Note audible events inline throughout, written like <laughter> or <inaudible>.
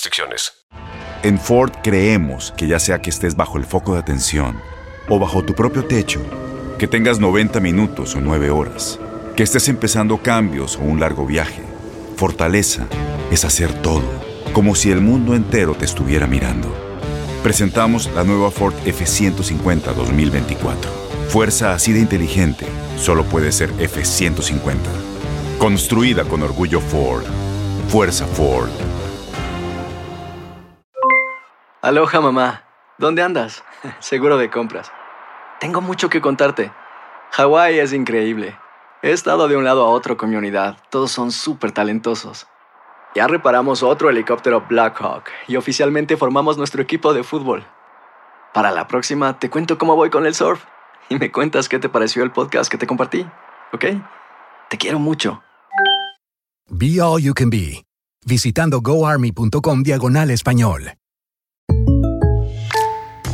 restricciones. En Ford creemos que ya sea que estés bajo el foco de atención o bajo tu propio techo, que tengas 90 minutos o 9 horas, que estés empezando cambios o un largo viaje, fortaleza es hacer todo, como si el mundo entero te estuviera mirando. Presentamos la nueva Ford F150 2024. Fuerza así de inteligente, solo puede ser F150. Construida con orgullo Ford. Fuerza Ford. Aloha mamá, ¿dónde andas? <laughs> Seguro de compras. Tengo mucho que contarte. Hawái es increíble. He estado de un lado a otro con mi unidad. Todos son súper talentosos. Ya reparamos otro helicóptero Blackhawk y oficialmente formamos nuestro equipo de fútbol. Para la próxima te cuento cómo voy con el surf y me cuentas qué te pareció el podcast que te compartí, ¿ok? Te quiero mucho. Be All You Can Be, visitando goarmy.com diagonal español.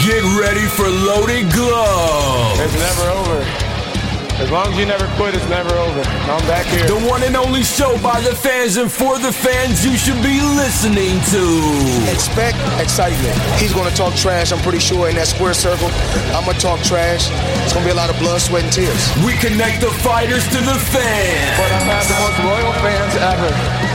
Get ready for Loaded Glove. It's never over. As long as you never quit, it's never over. I'm back here. The one and only show by the fans and for the fans you should be listening to. Expect excitement. He's going to talk trash, I'm pretty sure, in that square circle. I'm going to talk trash. It's going to be a lot of blood, sweat, and tears. We connect the fighters to the fans. But I've had the most loyal fans ever.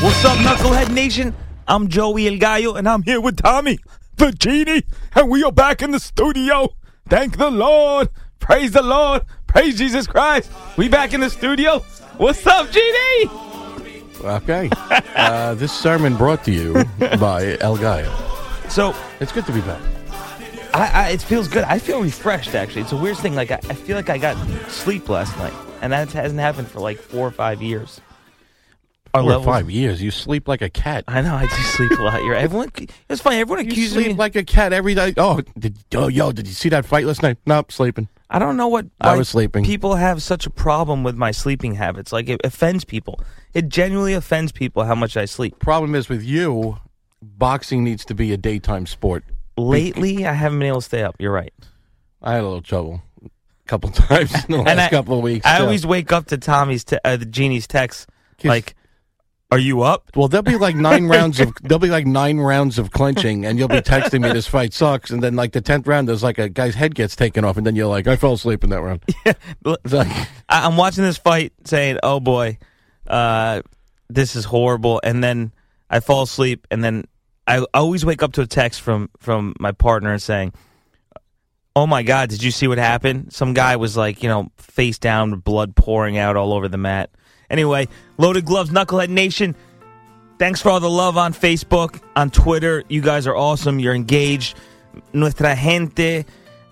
What's up, Knucklehead Nation? I'm Joey El Gallo, and I'm here with Tommy, the genie, and we are back in the studio. Thank the Lord. Praise the Lord. Praise Jesus Christ. We back in the studio. What's up, genie? Okay. uh, this sermon brought <laughs> to you by El Gallo. So it's good to be back. I, I, it feels good. I feel refreshed, actually. It's a weird thing. Like I, I feel like I got sleep last night, and that hasn't happened for like four or five years our Four Oh, five years. You sleep like a cat. I know. I do sleep a lot. You're everyone. It's funny. Everyone you accuses sleep me like a cat every day. Oh, did, oh, yo, did you see that fight last night? Nope, sleeping. I don't know what I was sleeping. People have such a problem with my sleeping habits. Like it offends people. It genuinely offends people how much I sleep. Problem is with you, boxing needs to be a daytime sport. Lately, I haven't been able to stay up. You're right. I had a little trouble. A couple <laughs> times in the last I, couple of weeks. I so. always wake up to Tommy's, te- uh, the genie's text, like, are you up? Well, there'll be like nine rounds of there'll be like nine rounds of clinching, and you'll be texting me this fight sucks, and then like the tenth round, there's like a guy's head gets taken off, and then you're like, I fell asleep in that round. Yeah, like, I, am watching this fight, saying, "Oh boy, uh, this is horrible," and then I fall asleep, and then I always wake up to a text from from my partner saying, "Oh my god, did you see what happened? Some guy was like, you know, face down, blood pouring out all over the mat." Anyway, Loaded Gloves, Knucklehead Nation. Thanks for all the love on Facebook, on Twitter. You guys are awesome. You're engaged. Nuestra gente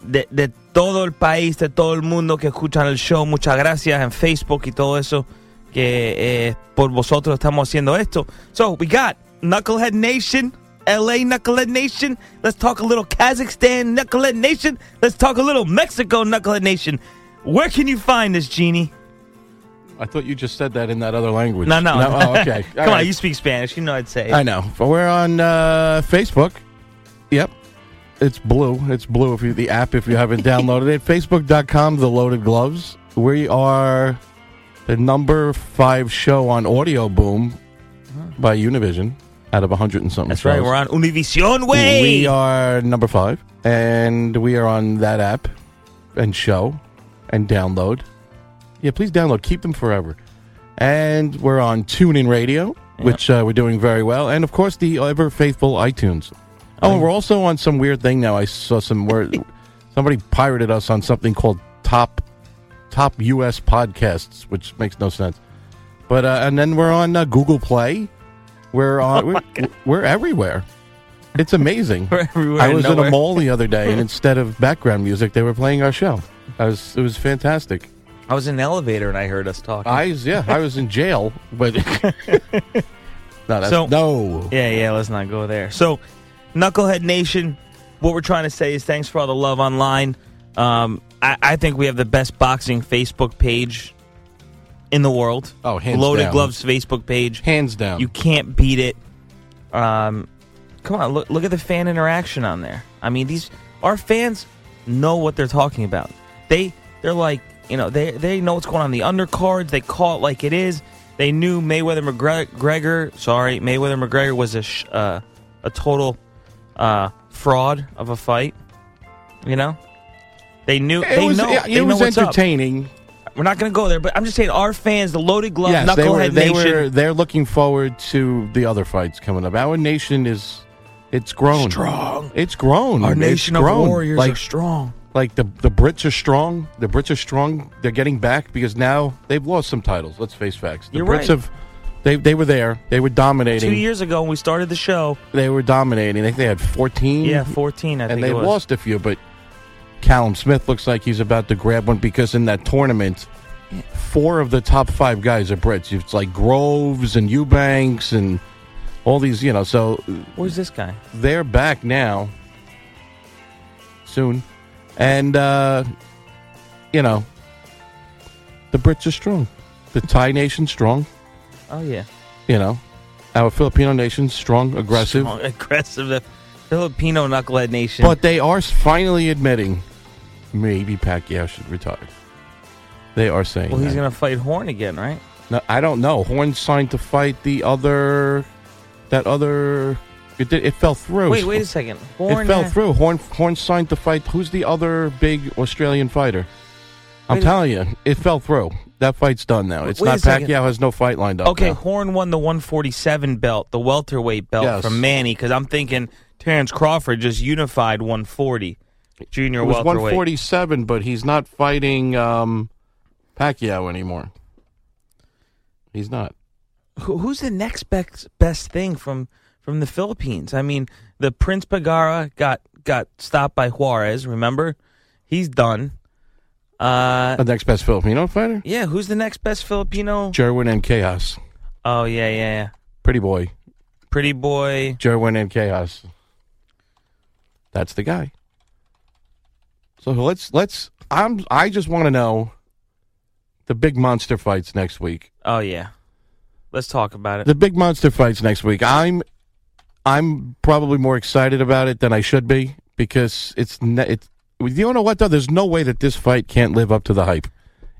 de, de todo el país, de todo el mundo que escuchan el show, muchas gracias en Facebook y todo eso que eh, por vosotros estamos haciendo esto. So, we got Knucklehead Nation, LA Knucklehead Nation. Let's talk a little Kazakhstan Knucklehead Nation. Let's talk a little Mexico Knucklehead Nation. Where can you find us, Genie? I thought you just said that in that other language. No, no. oh, okay. All <laughs> Come right. on, you speak Spanish. You know I'd say. it. I know. But we're on uh, Facebook. Yep. It's blue. It's blue if you the app if you haven't downloaded it. Facebook.com the loaded gloves. We are the number five show on audio boom by Univision out of hundred and something. That's right. shows. We're on Univision way. We are number five. And we are on that app and show and download. Yeah, please download. Keep them forever. And we're on TuneIn Radio, which uh, we're doing very well. And of course, the ever faithful iTunes. Oh, and we're also on some weird thing now. I saw some <laughs> word. somebody pirated us on something called Top Top US Podcasts, which makes no sense. But uh, and then we're on uh, Google Play. We're on. we're, we're everywhere. It's amazing. We're <laughs> everywhere I and was in a nowhere. mall the other day, and instead of background music, they were playing our show. I was, it was fantastic. I was in an elevator and I heard us talking. I was, yeah, I was in jail, but no, that's, So- no. Yeah, yeah, let's not go there. So, Knucklehead Nation, what we're trying to say is thanks for all the love online. Um, I, I think we have the best boxing Facebook page in the world. Oh, hands Loaded down. Gloves Facebook page. Hands down. You can't beat it. Um, come on, look, look at the fan interaction on there. I mean, these our fans know what they're talking about. They they're like, you know, they they know what's going on in the undercards. They call it like it is. They knew Mayweather McGre- McGregor. Sorry, Mayweather McGregor was a sh- uh, a total uh, fraud of a fight. You know, they knew. It they was- know. yeah, it they know was what's up. entertaining. We're not going to go there, but I'm just saying, our fans, the Loaded Glove, yes, Knucklehead they were. They Nation, were. They're looking forward to the other fights coming up. Our nation is, it's grown Strong. It's grown. Our It's nation of grown. warriors like, are strong. Like the the Brits are strong. The Brits are strong. They're getting back because now they've lost some titles. Let's face facts. The You're Brits right. have. They they were there. They were dominating. two years ago when we started the show. They were dominating. I think they had fourteen. Yeah, 14, I Mm-hmm. and think they it was. lost a few, but Callum Smith looks like he's about to grab one because in that tournament, four of the top five guys are Brits. It's like Groves and Eubanks and all these, you know. So Where's this guy? they're back now, soon, and uh, you know, the Brits are strong. The Thai nation's strong. Oh yeah, You know, our Filipino nation's strong, aggressive. Strong, <laughs> aggressive. The Filipino knucklehead nation. But they are finally admitting maybe Pacquiao should retire. They are saying. well, he's that. gonna fight Horn again, right? No, I don't know. Horn signed to fight the other. That other. It did, It fell through. Wait, wait a second. Horn uh, it fell ha- through. Horn Horn signed to fight. Who's the other big Australian fighter? I'm Wait a- telling you, it fell through. That fight's done now. It's Wait a not second. Pacquiao has no fight lined up. Okay, now. Horn won the 147 belt, the welterweight belt Yes. from Manny. Because I'm thinking Terrence Crawford just unified 140 junior It was welterweight. 147, but he's not fighting um, Pacquiao anymore. He's not. Who, who's the next best best thing from from the Philippines? I mean, the Prince Pagara got got stopped by Juarez. Remember, he's done. Uh, the next best Filipino fighter? yeah, who's the next best Filipino? Jerwin and Chaos. Oh yeah, yeah, yeah. Pretty boy. Pretty boy. Jerwin and Chaos. That's the guy. So let's let's I'm I just want to know the big monster fights next week. Oh yeah. Let's talk about it. The big monster fights next week. I'm I'm probably more excited about it than I should be because it's ne- it's you know what though there's no way that this fight can't live up to the hype.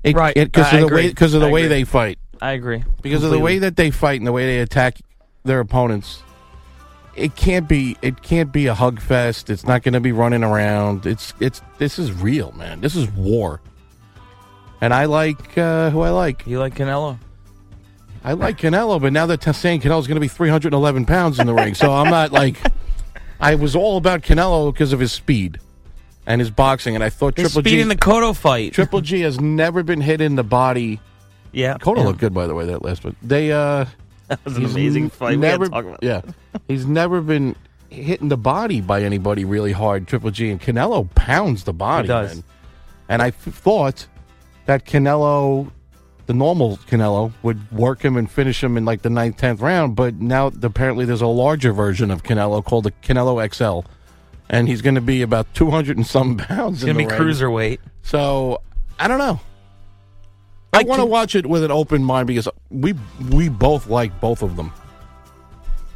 It, Right. because I of the agree. way because of the I way agree. they fight. I agree because of the way that they fight and the way they attack their opponents. It can't be. It can't be a hug fest. It's not going to be running around. It's. It's. This is real, man. This is war. And I like uh, who I like. You like Canelo. I like Canelo, but now they're t- saying Canelo's going to be 311 pounds in the ring, so I'm not like. I was all about Canelo because of his speed and his boxing, and I thought His Triple speed G in the Cotto fight. Triple G has never been hit in the body. Yeah, Cotto yeah. looked good by the way that last one. They uh, <laughs> that was an he's amazing n- fight. Never, we gotta talk about. <laughs> yeah, he's never been hit in the body by anybody really hard. Triple G and Canelo pounds the body. He does. man. And I f- thought that Canelo, the normal Canelo, would work him and finish him in like the ninth, tenth round. But now apparently there's a larger version of Canelo called the Canelo XL, and he's going to be about 200 and some <laughs> pounds. It's in gonna be the ring. cruiserweight. So I don't know. I I, want to watch it with an open mind because we we both like both of them.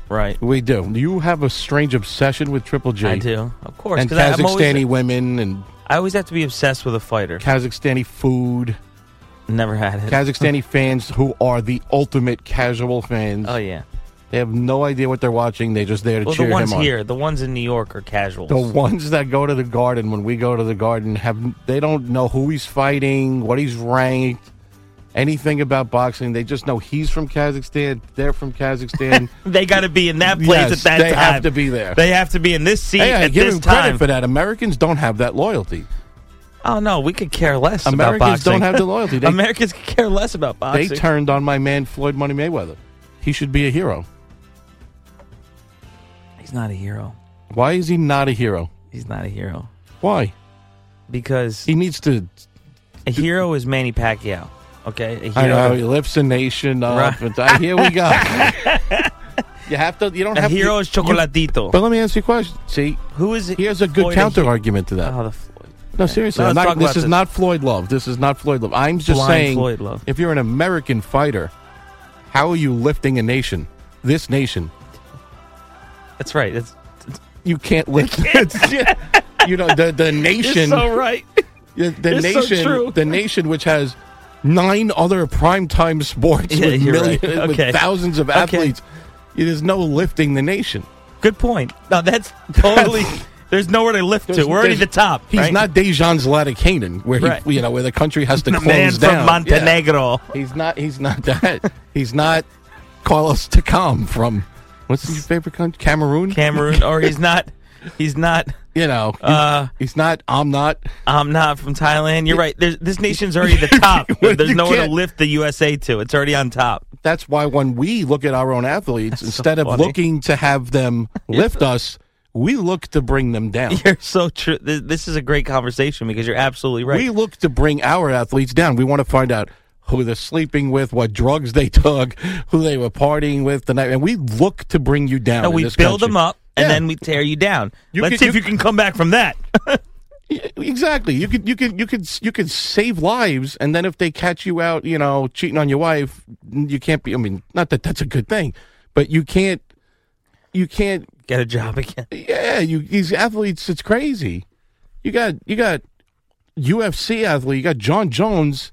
Right. We do. You have a strange obsession with Triple J. I do, of course. And 'cause I- I'm always- Kazakhstani women and I always have to be obsessed with a fighter. Kazakhstani <laughs> food. Never had it. Kazakhstani fans who are the ultimate casual fans. Oh, yeah. They have no idea what they're watching. They're just there to well, cheer the ones him on. here, the ones in New York are casuals. The ones that go to the garden when we go to the garden have they don't know who he's fighting, what he's ranked, anything about boxing. They just know he's from Kazakhstan, they're from <laughs> Kazakhstan. they got to be in that place Yes, at that they time. have to be there. They have to be in this seat hey, I at give this him time. credit for that. Americans don't have that loyalty. Oh no, we could care less. about Americans don't boxing. have the <laughs> loyalty. They- Americans could care less about boxing. They turned on my man Floyd Money Mayweather. He should be a hero. He's not a hero. Why is he not a hero? He's not a hero. Why? Because he needs to. A hero is Manny Pacquiao. Okay, a hero. I know he lifts the nation up. Right. and- here we <laughs> go. you have to. You don't a have hero to, is Chocolatito. But let me ask you a question. See, who is it? Here's a good Floyd a counter argument to that. Oh, the Floyd. No, seriously. No, I'm let's not, talk this about is this. not Floyd Love. This is not Floyd Love. I'm just Blind saying, Floyd Love. if you're an American fighter, how are you lifting a nation? This nation, That's right. That's you can't lift. <laughs> you know the the nation. <laughs> so right. The, the It's so nation, true. the nation which has nine other primetime sports Yeah, with, you're million, right. Okay. with thousands of Okay. athletes. There's no lifting the nation. Good point. No, that's totally. there's nowhere to lift to. There's- We're already the there's- top. He's right? not Dejan Zlatic Hanan, where he, Right. you know where the country has to The close man from down. Montenegro. Yeah. He's not. He's not that. he's not Carlos Takam from what's his favorite country? Cameroon. Cameroon, or he's not. He's not. You know. Uh, he's not. I'm not. I'm not from Thailand. You're right. There's, this nation's already the top. Well, <laughs> There's you nowhere to can't- lift the USA to. It's already on top. That's why when we look at our own athletes, instead of funny. looking to have <laughs> them lift us, we look to bring them down. You're so true. Th- This is a great conversation because you're absolutely right. We look to bring our athletes down. We want to find out who they're sleeping with, what drugs they <laughs> took, who they were partying with the night, and we look to bring you down. No, in we this build country. them up and Yeah. then we tear you down. You Let's could- see if you- you can come back <laughs> from that. Exactly. You could you could you could you could save lives, and then if they catch you out, you know, cheating on your wife, you can't be. I mean, not that that's a good thing, but you can't. You can't Get a <laughs> job again. Yeah, you these athletes, it's crazy. You got you got UFC athlete, you got John Jones.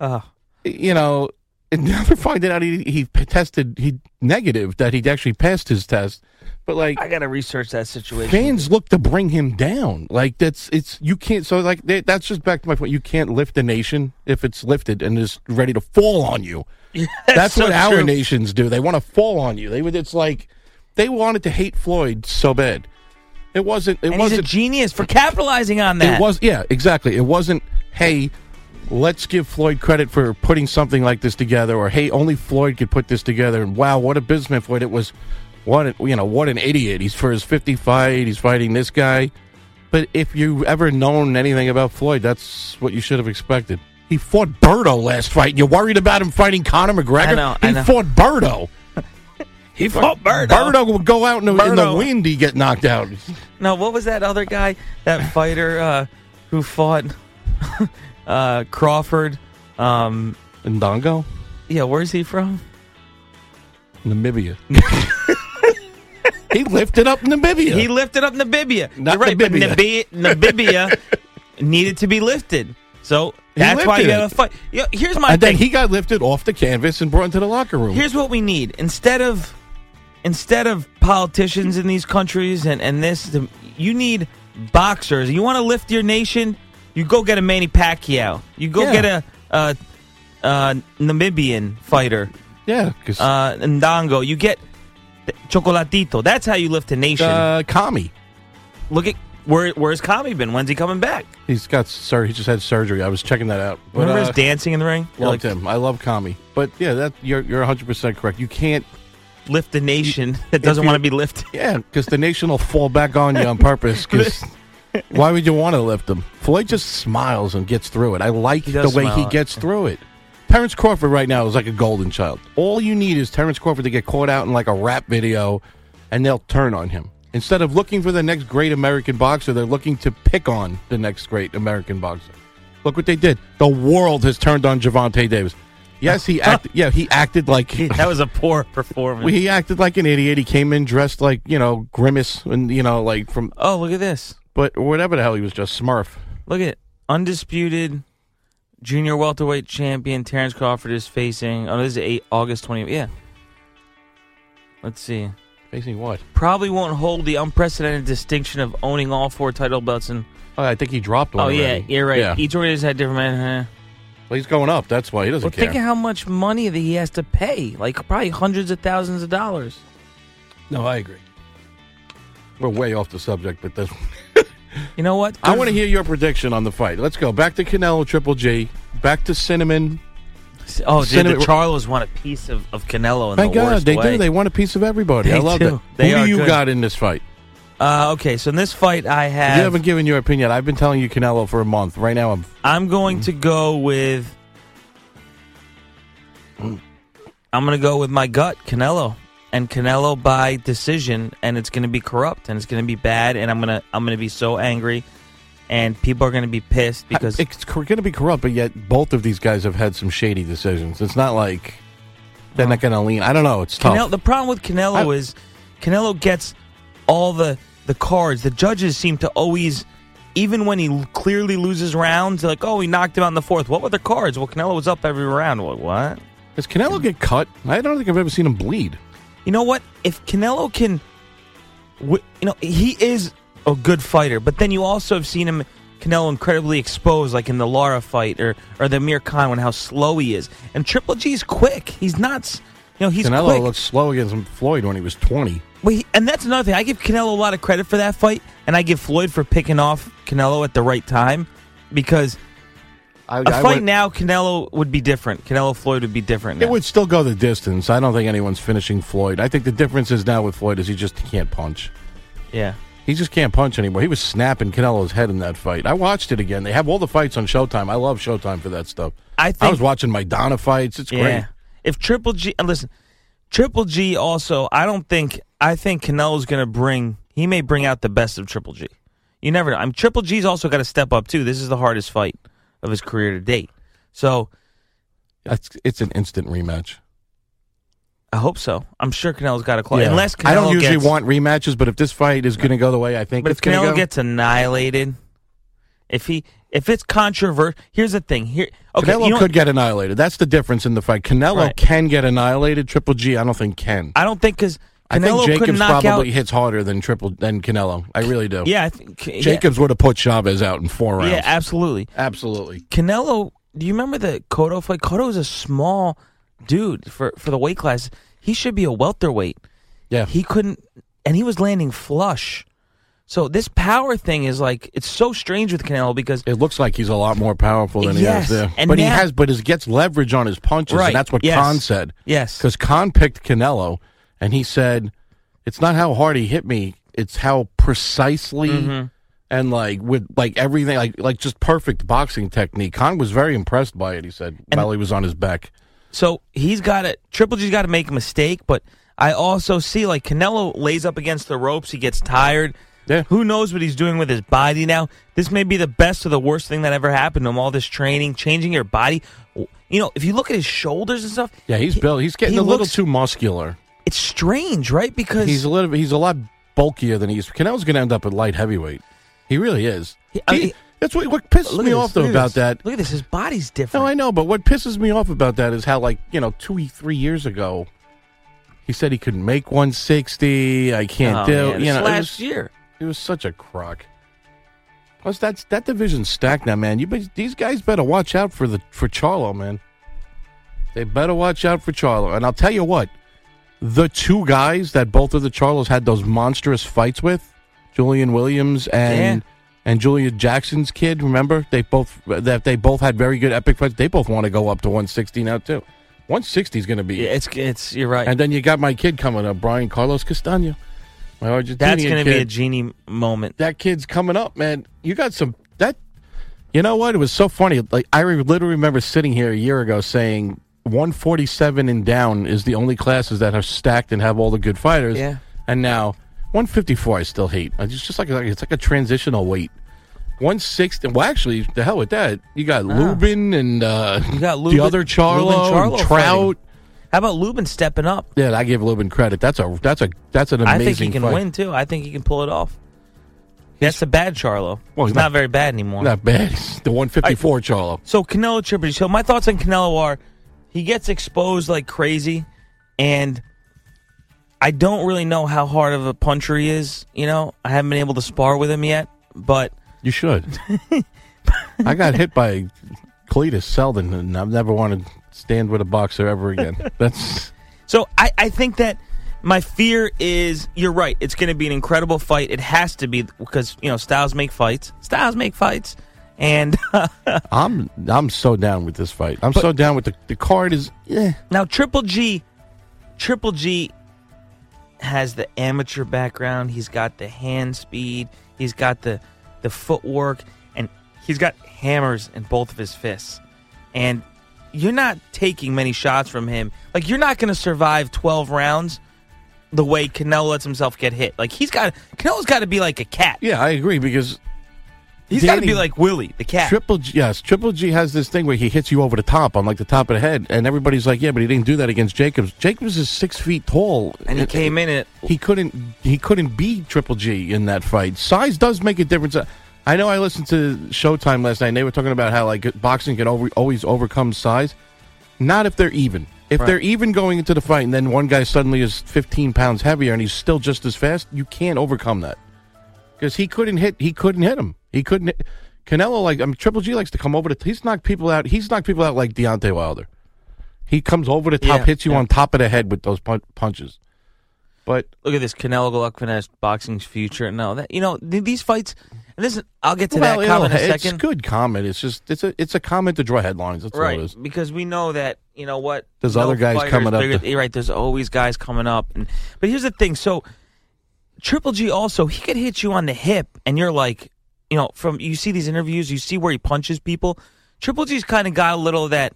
Oh. You know, and <laughs> now they're finding out he, he tested he negative that he actually passed his test. But like I gotta research that situation. <laughs> fans look to bring him down. Like that's it's you can't. So like they, that's just back to my point. You can't lift a nation if it's lifted and is ready to fall on you. that's so what our true. nations do. They want to fall on you. They would. It's like they wanted to hate Floyd so bad. It wasn't. It and he's a wasn't. genius for capitalizing on that. It was. Yeah, exactly. It wasn't. Hey. Let's give Floyd credit for putting something like this together, or hey, only Floyd could put this together. And wow, what a businessman Floyd! It was, what an, you know, what an idiot. He's for his fifty fight. He's fighting this guy. But if you ever known anything about Floyd, that's what you should have expected. He fought Berto last fight. You're worried about him fighting Conor McGregor? I know, he I know. fought Berto. He fought Birdo. Berto would go out in the, in the Berto. wind. He get knocked <laughs> out. No, what was that other guy, that fighter uh, who fought <laughs> uh, Crawford? Um, Ndongo, yeah, where's he from? Namibia. <laughs> he lifted up Namibia. He lifted up Namibia. Not You're right, but Namibia. Namibia, Namibia <laughs> needed to be lifted. So He that's why lifted you got to it. fight. You know, here's my and thing. then he got lifted off the canvas and brought into the locker room. Here's what we need. Instead of instead of politicians in these countries and and this, the, you need boxers. You want to lift your nation? You go get a Manny Pacquiao. You go Yeah. get a, a, a Namibian fighter, yeah, because uh, Ndongo. You get th- Chocolatito. That's how you lift a nation. uh, Kami. Look at where where's Kami been? When's he coming back? He's got sur- He just had surgery. I was checking that out. But, Remember uh, his dancing in the ring? You're Loved like, him. I love Kami. But yeah, that you're you're 100 percent correct. You can't. lift the nation that doesn't you- want to be lifted. Yeah, because the nation will fall back on you on purpose. 'cause why would you want to lift him? Floyd just smiles and gets through it. I like He the does way he smile. gets through it. Terrence Crawford right now is like a golden child. All you need is Terrence Crawford to get caught out in like a rap video, and they'll turn on him. Instead of looking for the next great American boxer, they're looking to pick on the next great American boxer. Look what they did. The world has turned on Javante Davis. Yes, <laughs> he acted. Yeah, <laughs> he acted like that was a poor performance. he acted like an idiot. He came in dressed like you know grimace and you know like from. Oh, look at this. But whatever the hell, he was just Smurf. Look at undisputed junior welterweight champion Terrence Crawford is facing. Oh, this is eight, August 20. Yeah. Let's see. Facing what? Probably won't hold the unprecedented distinction of owning all four title belts and. Oh, I think he dropped one. Oh already. yeah, you're right. Yeah. Each organization had different. Man, Well, he's going up. That's why he doesn't well, care. think of how much money that he has to pay. Like probably hundreds of thousands of dollars. No, I agree. We're way off the subject, but this. you know what? I want to hear your prediction on the fight. Let's go back to Canelo Triple G, back to Cinnamon. Oh, dude, Cinnamon- the Charlos want a piece of, of Canelo in Thank the God worst they way. do. They want a piece of everybody. They I love do. it. They Who are do you good. got in this fight? Uh, okay, so in this fight, I have. you haven't given your opinion. I've been telling you Canelo for a month. Right now, I'm I'm going to go with. I'm going to go with my gut, Canelo, and Canelo by decision, and it's going to be corrupt and it's going to be bad, and I'm gonna I'm going to be so angry, and people are going to be pissed because it's going to be corrupt, but yet both of these guys have had some shady decisions. It's not like they're not going to lean. I don't know. It's tough. Canelo, the problem with Canelo is Canelo gets all the the cards. The judges seem to always, even when he l- clearly loses rounds, they're like, oh, he knocked him out in the fourth. What were the cards? Well, Canelo was up every round. What? what? Does Canelo get cut? I don't think I've ever seen him bleed. You know what? If Canelo can, wi- you know, he is a good fighter, but then you also have seen him. Canelo incredibly exposed, like in the Lara fight or or the Amir Khan, when how slow he is. And Triple G's quick. He's not, s- you know, he's Canelo quick. looked slow against Floyd when he was 20. Well, he, and that's another thing. I give Canelo a lot of credit for that fight, and I give Floyd for picking off Canelo at the right time because I, a I fight would- now, Canelo would be different. Canelo Floyd would be different. It Now. would still go the distance. I don't think anyone's finishing Floyd. I think the difference is now with Floyd is he just can't punch. Yeah. He just can't punch anymore. He was snapping Canelo's head in that fight. I watched it again. They have all the fights on Showtime. I love Showtime for that stuff. I I think- was watching my Donna fights. It's great. If Triple G, and listen, Triple G also, I don't think, I think Canelo's going to bring, he may bring out the best of Triple G. You never know. I'm Triple G's also got to step up too. This is the hardest fight of his career to date. So It's, it's an instant rematch. I hope so. I'm sure Canelo's got a claw. Unless Canelo I don't usually gets, want rematches, but if this fight is going to go the way I think But it's if going to Canelo go, gets annihilated, if he if it's controversial, here's the thing. Here, okay, Canelo you know could what? get annihilated. That's the difference in the fight. Canelo Right. can get annihilated. Triple G, I don't think can. I don't think because I think Canelo could Jacobs knock probably out. hits harder than Triple than Canelo. I really do. Yeah, I think yeah. Jacobs would have put Chavez out in four rounds. Yeah, absolutely, absolutely. Canelo, do you remember the Cotto fight? Cotto is a small dude for for the weight class. He should be a welterweight. Yeah, he couldn't, and he was landing flush. So this power thing is like it's so strange with Canelo because it looks like he's a lot more powerful than Yes, he is there. and but he now- has, but he gets leverage on his punches, Right, and that's what yes. Khan said. Yes. because Khan picked Canelo, and he said, "It's not how hard he hit me; it's how precisely Mhm. and like with like everything, like like just perfect boxing technique." Khan was very impressed by it. He said while he was on his back. So he's got to Triple G's got to make a mistake, but I also see like Canelo lays up against the ropes. He gets tired. Yeah. Who knows what he's doing with his body now? This may be the best or the worst thing that ever happened to him. All this training, changing your body. You know, if you look at his shoulders and stuff. Yeah, he's built. He's getting he a little looks- too muscular. It's strange, right? Because he's a little. He's a lot bulkier than he is. Canelo's going to end up at light heavyweight. He really is. He- that's what, what pisses Look me at off this, though look at about this. that. Look at this. His body's different. No, I know, but what pisses me off about that is how, like, you know, two, three years ago, he said he couldn't make 160. I can't Oh, do. man, you this know, it last was- year. it was such a crock. Plus, that's that division's stacked now, man. You be- these guys better watch out for the for Charlo, man. They better watch out for Charlo. And I'll tell you what, the two guys that both of the Charlos had those monstrous fights with, Julian Williams and and Julia Jackson's kid. Remember, they both that they both had very good epic fights. They both want to go up to 160 now too. 160 is going to be. Yeah, it's it's you're right. And then you got my kid coming up, Brian Carlos Castaño, my Argentinian That's going to kid be a genie moment. that kid's coming up, man. You got some that. You know what? It was so funny. Like I re- literally remember sitting here a year ago saying 147 and down is the only classes that are stacked and have all the good fighters. Yeah. And now 154, I still hate. It's just like it's like a transitional weight. 160. Well, actually, the hell with that. You got Lubin and uh, You got the other Charlo, and Trout. How about Lubin stepping up? Yeah, I give Lubin credit. That's a that's a that's an I amazing. think he can fight. win too. I think he can pull it off. That's a bad Charlo. Well, he's not, very bad anymore. Not bad. <laughs> The 154 Charlo. So Canelo Triple G. So my thoughts on Canelo are he gets exposed like crazy, and I don't really know how hard of a puncher he is. You know, I haven't been able to spar with him yet, but You <laughs> should. I got hit by Cletus Selden, and I've never wanted to stand with a boxer ever <laughs> again. That's So I, I think that my fear is you're right. It's going to be an incredible fight. It has to be because you know styles make fights. Styles make fights, and <laughs> uh, I'm I'm so down with this fight. I'm so down with the the card is eh. yeah. Now Triple G, Triple G has the amateur background. He's got the hand speed. He's got the the footwork, and he's got hammers in both of his fists. And you're not taking many shots from him. Like you're not going to survive 12 rounds the way Canelo lets himself get hit. Like he's got Canelo's got to be like a cat. Yeah, I agree because he's got to be Danny- like Willie the cat. Triple G, yes, Triple G has this thing where he hits you over the top on like the top of the head, and everybody's like, "Yeah, but he didn't do that against Jacobs. Jacobs is six feet tall, And <laughs> he came in it. He couldn't. He couldn't beat Triple G in that fight. Size does make a difference. Uh, I know. I listened to Showtime last night. and They were talking about how like boxing can over, always overcome size. Not if they're even. If Right. they're even going into the fight, and then one guy suddenly is 15 pounds heavier and he's still just as fast, you can't overcome that because he couldn't hit. He couldn't hit him. He couldn't. Hit, Canelo like I mean, Triple G likes to come over to. He's knocked people out. He's knocked people out like Deontay Wilder. He comes over the top, Yeah, hits you yeah. on top of the head with those pun- punches. But look at this Canelo Golovkin as boxing's future. No, that you know th- these fights. And this, is- I'll get to Well, that you know, comment in a it's second. good comment. It's just it's a it's a comment to draw headlines. That's all it is. because we know that you know what. There's other guys fighters coming up bigger- to- you're right, there's always guys coming up, and but here's the thing. So Triple G also he could hit you on the hip, and you're like, you know, from you see these interviews, you see where he punches people. Triple G's kind of got a little of that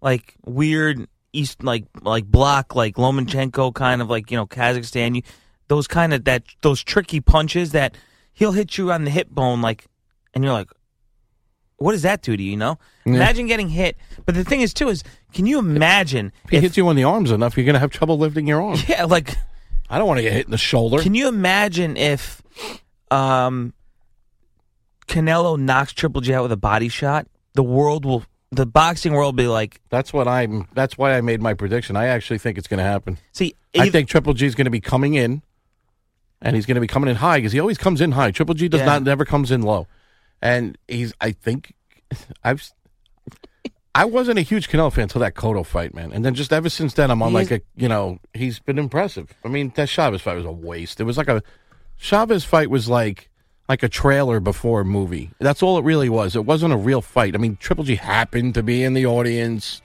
like weird east like like block like Lomachenko kind of like you know Kazakhstan. You those kind of that those tricky punches that he'll hit you on the hip bone like, and you're like what does that do to you? You know, Yeah. imagine getting hit. But the thing is, too, is can you imagine? If he hits you on the arms enough, you're gonna have trouble lifting your <laughs> arm. Yeah, like I don't want to get hit in the shoulder. Can you imagine if, um, Canelo knocks Triple G out with a body shot? The world will, the boxing world, will be like, That's what I'm. That's why I made my prediction. I actually think it's going to happen. See, I think Triple G is going to be coming in, and he's going to be coming in high because he always comes in high. Triple G does Yeah. not never comes in low, and he's. I think <laughs> I've. s- I wasn't a huge Canelo fan until that Cotto fight, man, and then just ever since then, I'm on He is- like a. You know, he's been impressive. I mean, that Chavez fight was a waste. It was like a Chavez fight was like like a trailer before a movie. That's all it really was. It wasn't a real fight. I mean, Triple G happened to be in the audience.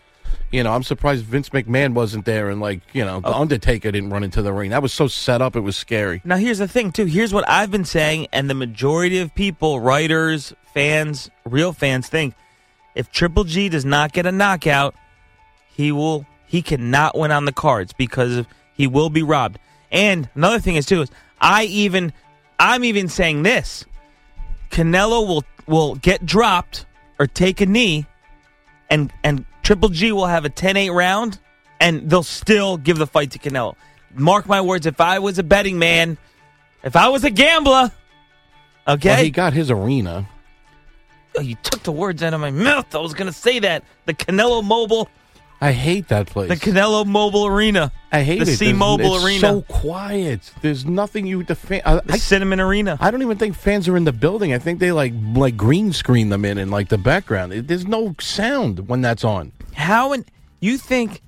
You know, I'm surprised Vince McMahon wasn't there and like, you know, the Undertaker didn't run into the ring. That was so set up, it was scary. Now, here's the thing, too. Here's what I've been saying, and the majority of people, writers, fans, real fans, think if Triple G does not get a knockout, he will he cannot win on the cards because he will be robbed. And another thing is too is I even I'm even saying this: Canelo will will get dropped or take a knee, and and Triple G will have a 10-8 round, and they'll still give the fight to Canelo. Mark my words. If I was a betting man, if I was a gambler, okay, Well, he got his arena. Oh, you took the words out of my mouth. I was going to say that the Canelo Mobile, I hate that place. the Canelo Mobile Arena. I hate the it. There's- C-Mobile it's Arena. So quiet. There's nothing you the fan. I, I- Cinnamon Arena. I don't even think fans are in the building. I think they like like green screen them in and like the background. It- there's no sound when that's on. How and you think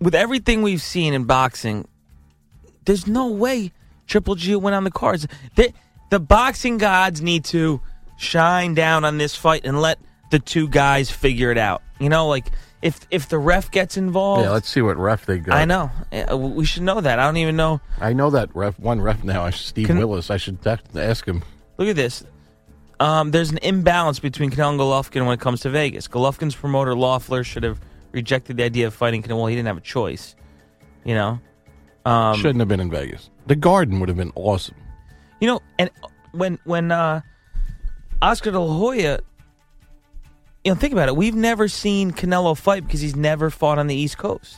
with everything we've seen in boxing, there's no way Triple G went on the cards. They, the boxing gods need to shine down on this fight and let the two guys figure it out. You know, like if if the ref gets involved, Yeah, let's see what ref they got. Oh. I know. Yeah, We should know that. I don't even know. I know that ref. One ref now. Steve Can- Willis. I should def- ask him. Look at this. Um, there's an imbalance between Canelo and Golovkin when it comes to Vegas. Golovkin's promoter Loeffler should have rejected the idea of fighting Canelo. Well, he didn't have a choice, you know. Um, Shouldn't have been in Vegas. The Garden would have been awesome. you know? And when when uh, Oscar De La Hoya, you know, think about it. We've never seen Canelo fight because he's never fought on the East Coast.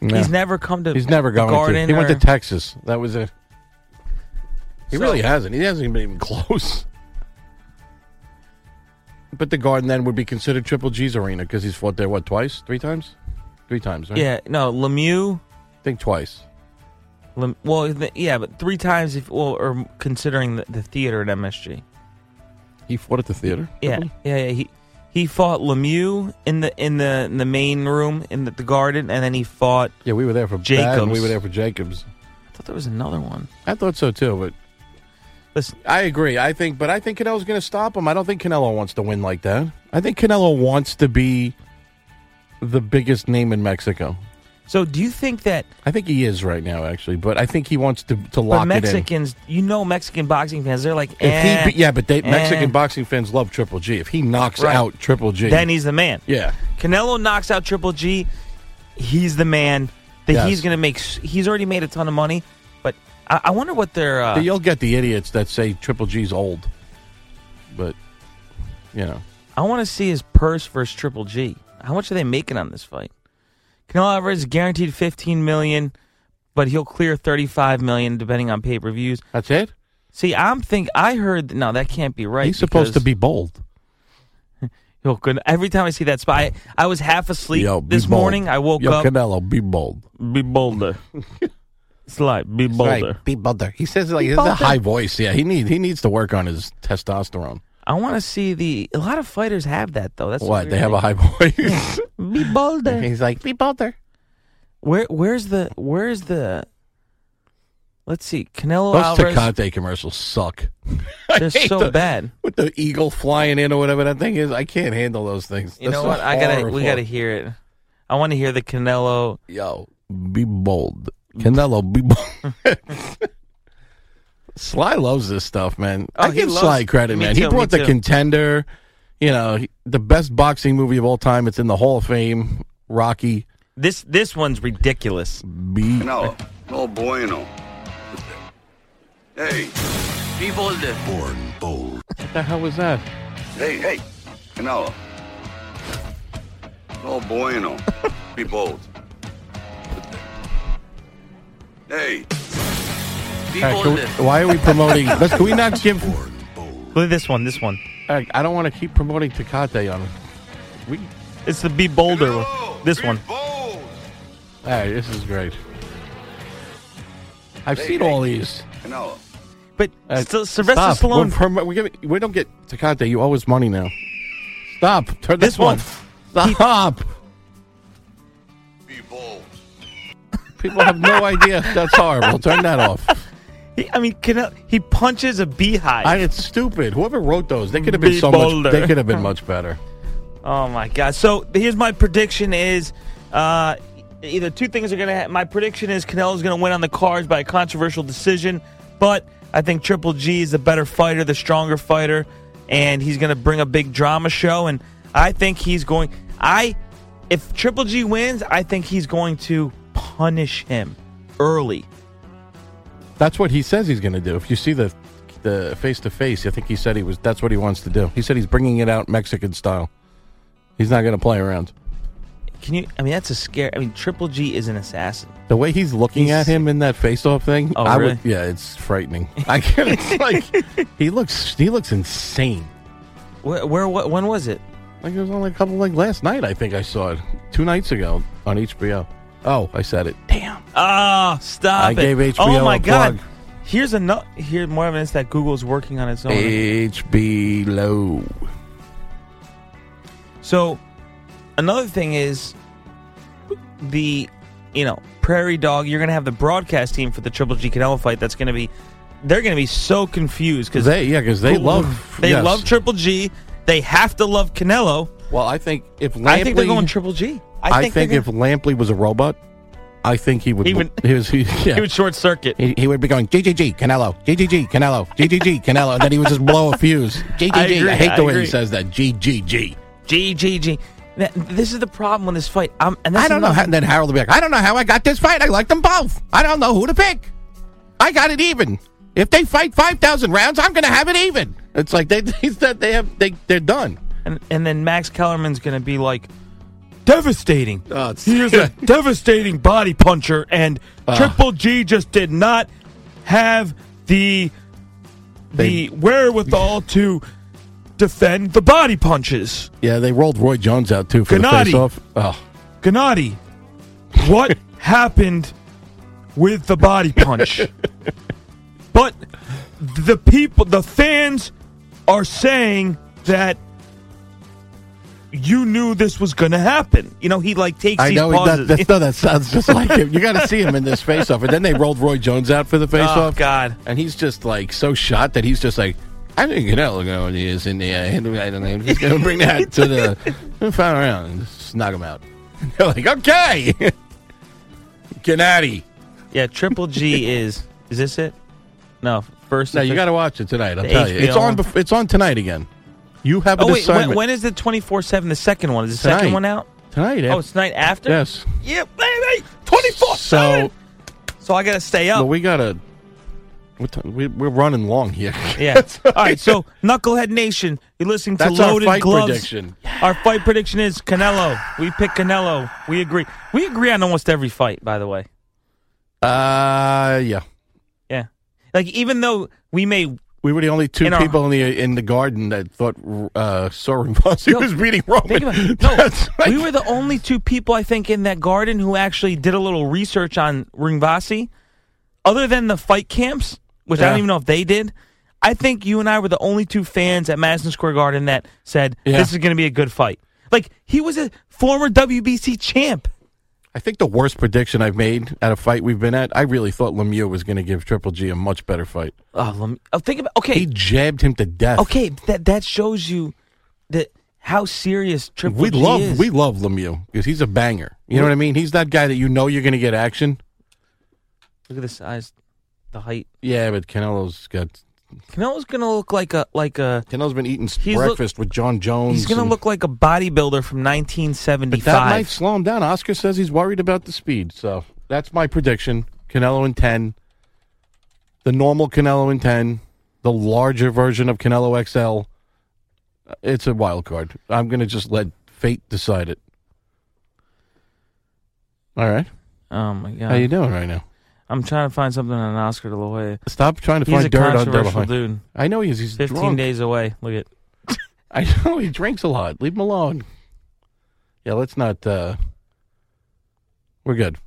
No. He's never come to. He's never the going Garden to. He went or- to Texas. That was it. He So- really hasn't. He hasn't been <laughs> even close. But the Garden then would be considered Triple G's arena because he's fought there what twice, three times, three times. Right? Yeah, no, Lemieux. I think twice. Lem, well, th- yeah, but three times if well, or considering the, the theater at MSG. He fought at the theater. Yeah, yeah, yeah. He he fought Lemieux in the in the in the main room in the, the garden, and then he fought. Yeah, we were there for Bad, Jacobs. and we were there for Jacobs. I thought there was another one. I thought so too, but listen, I agree. I think, but I think Canelo's going to stop him. I don't think Canelo wants to win like that. I think Canelo wants to be the biggest name in Mexico. So, do you think that? I think he is right now, actually, but I think he wants to to lock it but in. Mexicans, you know, Mexican boxing fans, they're like, If eh, he, be- yeah, but they, eh. Mexican boxing fans love Triple G. If he knocks Right. out Triple G, Then he's the man. yeah. Canelo knocks out Triple G. He's the man. That Yes. he's going to make. s- He's already made a ton of money, but I, I wonder what their. Uh, You'll get the idiots that say Triple G's old, but you know, I want to see his purse versus Triple G. How much are they making on this fight? Canelo Alvarez is guaranteed fifteen million, but he'll clear thirty-five million depending on pay-per-views. That's it. See, I'm think I heard no, that can't be right. he's supposed to because be bold. he'll- good. Every time I see that spot, I, I was half asleep Yo, be this bold. morning. I woke Yo, up. Canelo, be bold. Be bolder. <laughs> it's like be Right, bolder. be bolder. He says it like he Be has a bolder. high voice. Yeah, he need he needs to work on his testosterone. I want to see the. A lot of fighters have that though. That's what weird they have a thing. high voice. <laughs> Be <laughs> bolder. He's like, be bolder. Where where's the where's the Let's see. Canelo Those Alvarez. Tecate commercials suck. I They're hate so the- bad. With the eagle flying in or whatever that thing is, I can't handle those things. You That's know so what? I gotta horrible. we gotta hear it. I want to hear the Canelo. Yo, be bold, Canelo. Be bold. <laughs> Sly loves this stuff, man. Oh, I he give loves- Sly credit, me man. too, he me brought the too. contender. You know, he- the best boxing movie of all time. It's in the Hall of Fame. Rocky. This this one's ridiculous. Be No, no bueno. Hey. Be bolder. Born bold. What the hell was that? Hey, hey. Canelo. No <laughs> bueno. Be bold. Hey. Be All right, can we- why are we <laughs> promoting? Let's, can we not give? Look at this one. This one. All right, I don't want to keep promoting Tecate on. We. It's the be bolder one. This one. All right, this is great. I've seen all these. Canelo. But Uh, still, Sylvester stop. We're Stallone. prom- we give- we don't get Tecate. You owe us money now. Stop. Turn This this one. one. Stop. Be bold. People have no <laughs> idea. That's horrible. Turn that off. He, I mean, Canelo. He punches a beehive. I, it's stupid. Whoever wrote those, they could have been Be so bolder. much. They could have been much better. oh my god. So here's my prediction: is uh, either two things are gonna. happen. My prediction is Canelo's gonna win on the cards by a controversial decision, but I think Triple G is the better fighter, the stronger fighter, and he's gonna bring a big drama show. And I think he's going. I if Triple G wins, I think he's going to punish him early. That's what he says he's going to do. If you see the the face to face, I think he said he was. That's what he wants to do. He said he's bringing it out Mexican style. He's not going to play around. Can you? I mean, that's a scare. I mean, Triple G is an assassin. The way he's looking at him in that face-off thing, Oh, I really? would, yeah, it's frightening. <laughs> I can it's <laughs> like he looks he looks insane. Where, where what, when was it? Like it was only a couple like last night I think I saw it. 2 nights ago on HBO. Oh, I said it. Damn. Ah, stop I it! gave HBO oh my a god! plug. Here's another. Here more evidence that Google's working on its own. HB low. So another thing is the you know Prairie Dog. You're gonna have the broadcast team for the Triple G Canelo fight. That's gonna be they're gonna be so confused because They yeah, cuz they love they yes. love Triple G. They have to love Canelo. Well, I think if Lampley, I think they're going Triple G. I they're think, gonna- if Lampley was a robot, I think he would He would- <laughs> he was, he, yeah. <laughs> he would short circuit. He, he would be going GGG Canelo, GGG Canelo, GGG Canelo, and then he would just blow a fuse. GGG. I, agree, hate the <laughs> I way agree. he says that. GGG. G G G. Th- This is the problem with this fight. Um, and that's I don't know. another- How, and then Harold will be like, I don't know how I got this fight. I like them both. I don't know who to pick. I got it even. If they fight five thousand rounds, I'm going to have it even. It's like they <laughs> they said they have they they're done. And and then Max Kellerman's going to be like devastating. Here's a devastating body puncher, and Ah. Triple G just did not have the the wherewithal to defend the body punches. <laughs> Yeah, they rolled Roy Jones out too for Gennady. the face-off. Oh, Gennady, <laughs> what happened with the body punch? but the people, the fans are saying that you knew this was going to happen. You know, he like takes I these know he pauses. does, that's, no, that sounds just like him. You got to see him in this face-off, and then they rolled Roy Jones out for the face-off. Oh, God! And he's just like so shot that he's just like, I think you know what he is in the. Uh, I don't know. I'm just gonna bring that to <laughs> the final round and just knock him out. <laughs> They're like, okay, <laughs> Gennady. Yeah, <laughs> Triple G is. Is this it? No, first. No, you got to watch it tonight. I'll tell you, it's on. bef- It's on tonight again. You have a Oh wait, when, assignment when is the twenty four seven? The second one is the Tonight. second one out. tonight. Oh, Ed. it's night after. Yes. Yeah, baby, twenty So- four seven. So I gotta stay up. Well, we gotta. What time, we, we're running long here. <laughs> <laughs> Yeah. All right. So, Knucklehead Nation, you're listening to That's our Loaded fight Gloves. prediction. Our fight prediction is Canelo. We pick Canelo. We agree. We agree on almost every fight, by the way. Uh, yeah. Yeah. Like even though we may We were the only two In our- people in the in the garden that thought uh, Soren Fossey No, was beating think Roman. about <laughs> <laughs> it. No, we were the only two people I think in that garden who actually did a little research on Ringvasi. Other than the fight camps, which I Yeah. don't even know if they did, I think you and I were the only two fans at Madison Square Garden that said Yeah. this is going to be a good fight. Like he was a former WBC champ. I think the worst prediction I've made at a fight we've been at. I really thought Lemieux was going to give Triple G a much better fight. Oh, let me, oh think about okay, He jabbed him to death. okay. That that shows you that how serious Triple we G love is. we love Lemieux because he's a banger. You know what I mean? He's that guy that you know you're going to get action. Look at the size, the height. Yeah, but Canelo's got Canelo's going to look like a like a Canelo's been eating He's look- breakfast with John Jones. He's going to and- look like a bodybuilder from 1975. But that might slow him down. Oscar says he's worried about the speed. So that's my prediction. Canelo in 10. The normal Canelo in 10. The larger version of Canelo XL. It's a wild card. I'm going to just let fate decide it. All right. Oh my god! How you doing right now? I'm trying to find something on Oscar De La Hoya. Stop trying to He's find a dirt on controversial Devil dude. I know he is. He's 15 drunk. days away. Look at <laughs> I know he drinks a lot. Leave him alone. Yeah, let's not. uh We're good.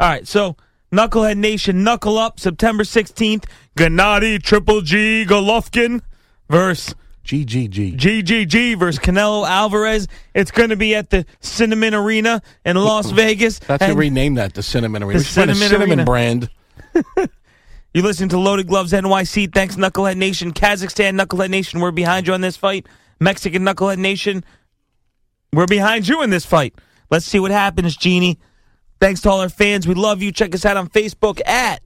All right, so Knucklehead Nation, knuckle up September 16th. Gennady Triple G Golovkin versus GGG. GGG versus Canelo Alvarez. It's going to be at the Cinnamon Arena in Las Vegas. That's to And- rename that the cinnamon arena. The We should find a Cinnamon cinnamon Arena. brand. You listen to Loaded Gloves NYC. Thanks, Knucklehead Nation. Kazakhstan Knucklehead Nation, we're behind you on this fight. Mexican Knucklehead Nation, we're behind you in this fight. Let's see what happens, Genie. Thanks to all our fans. We love you. Check us out on Facebook at.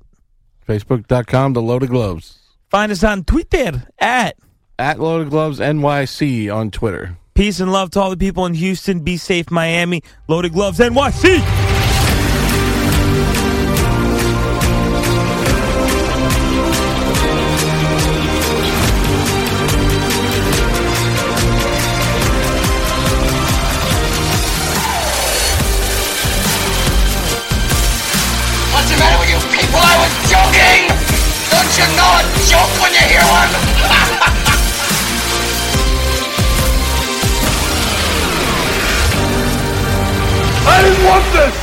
Facebook.com to Loaded Gloves. Find us on Twitter at. At Loaded Gloves NYC on Twitter. Peace and love to all the people in Houston. Be safe, Miami. Loaded Gloves NYC. What's the matter with you people? I was joking! Don't you know a joke when you hear one? I didn't want this!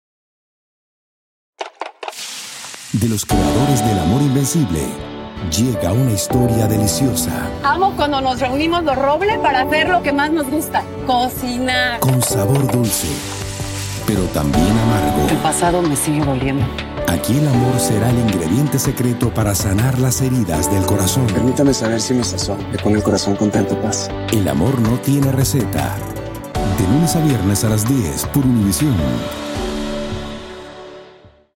De los creadores del amor invencible, llega una historia deliciosa Amo cuando nos reunimos los robles para hacer lo que más nos gusta, cocinar. con sabor dulce, pero también amargo. El pasado me sigue doliendo. Aquí el amor será el ingrediente secreto para sanar las heridas del corazón. Permítame saber si me sazón me pone el corazón con tanta paz. El amor no tiene receta. De lunes a viernes a las 10 por Univisión.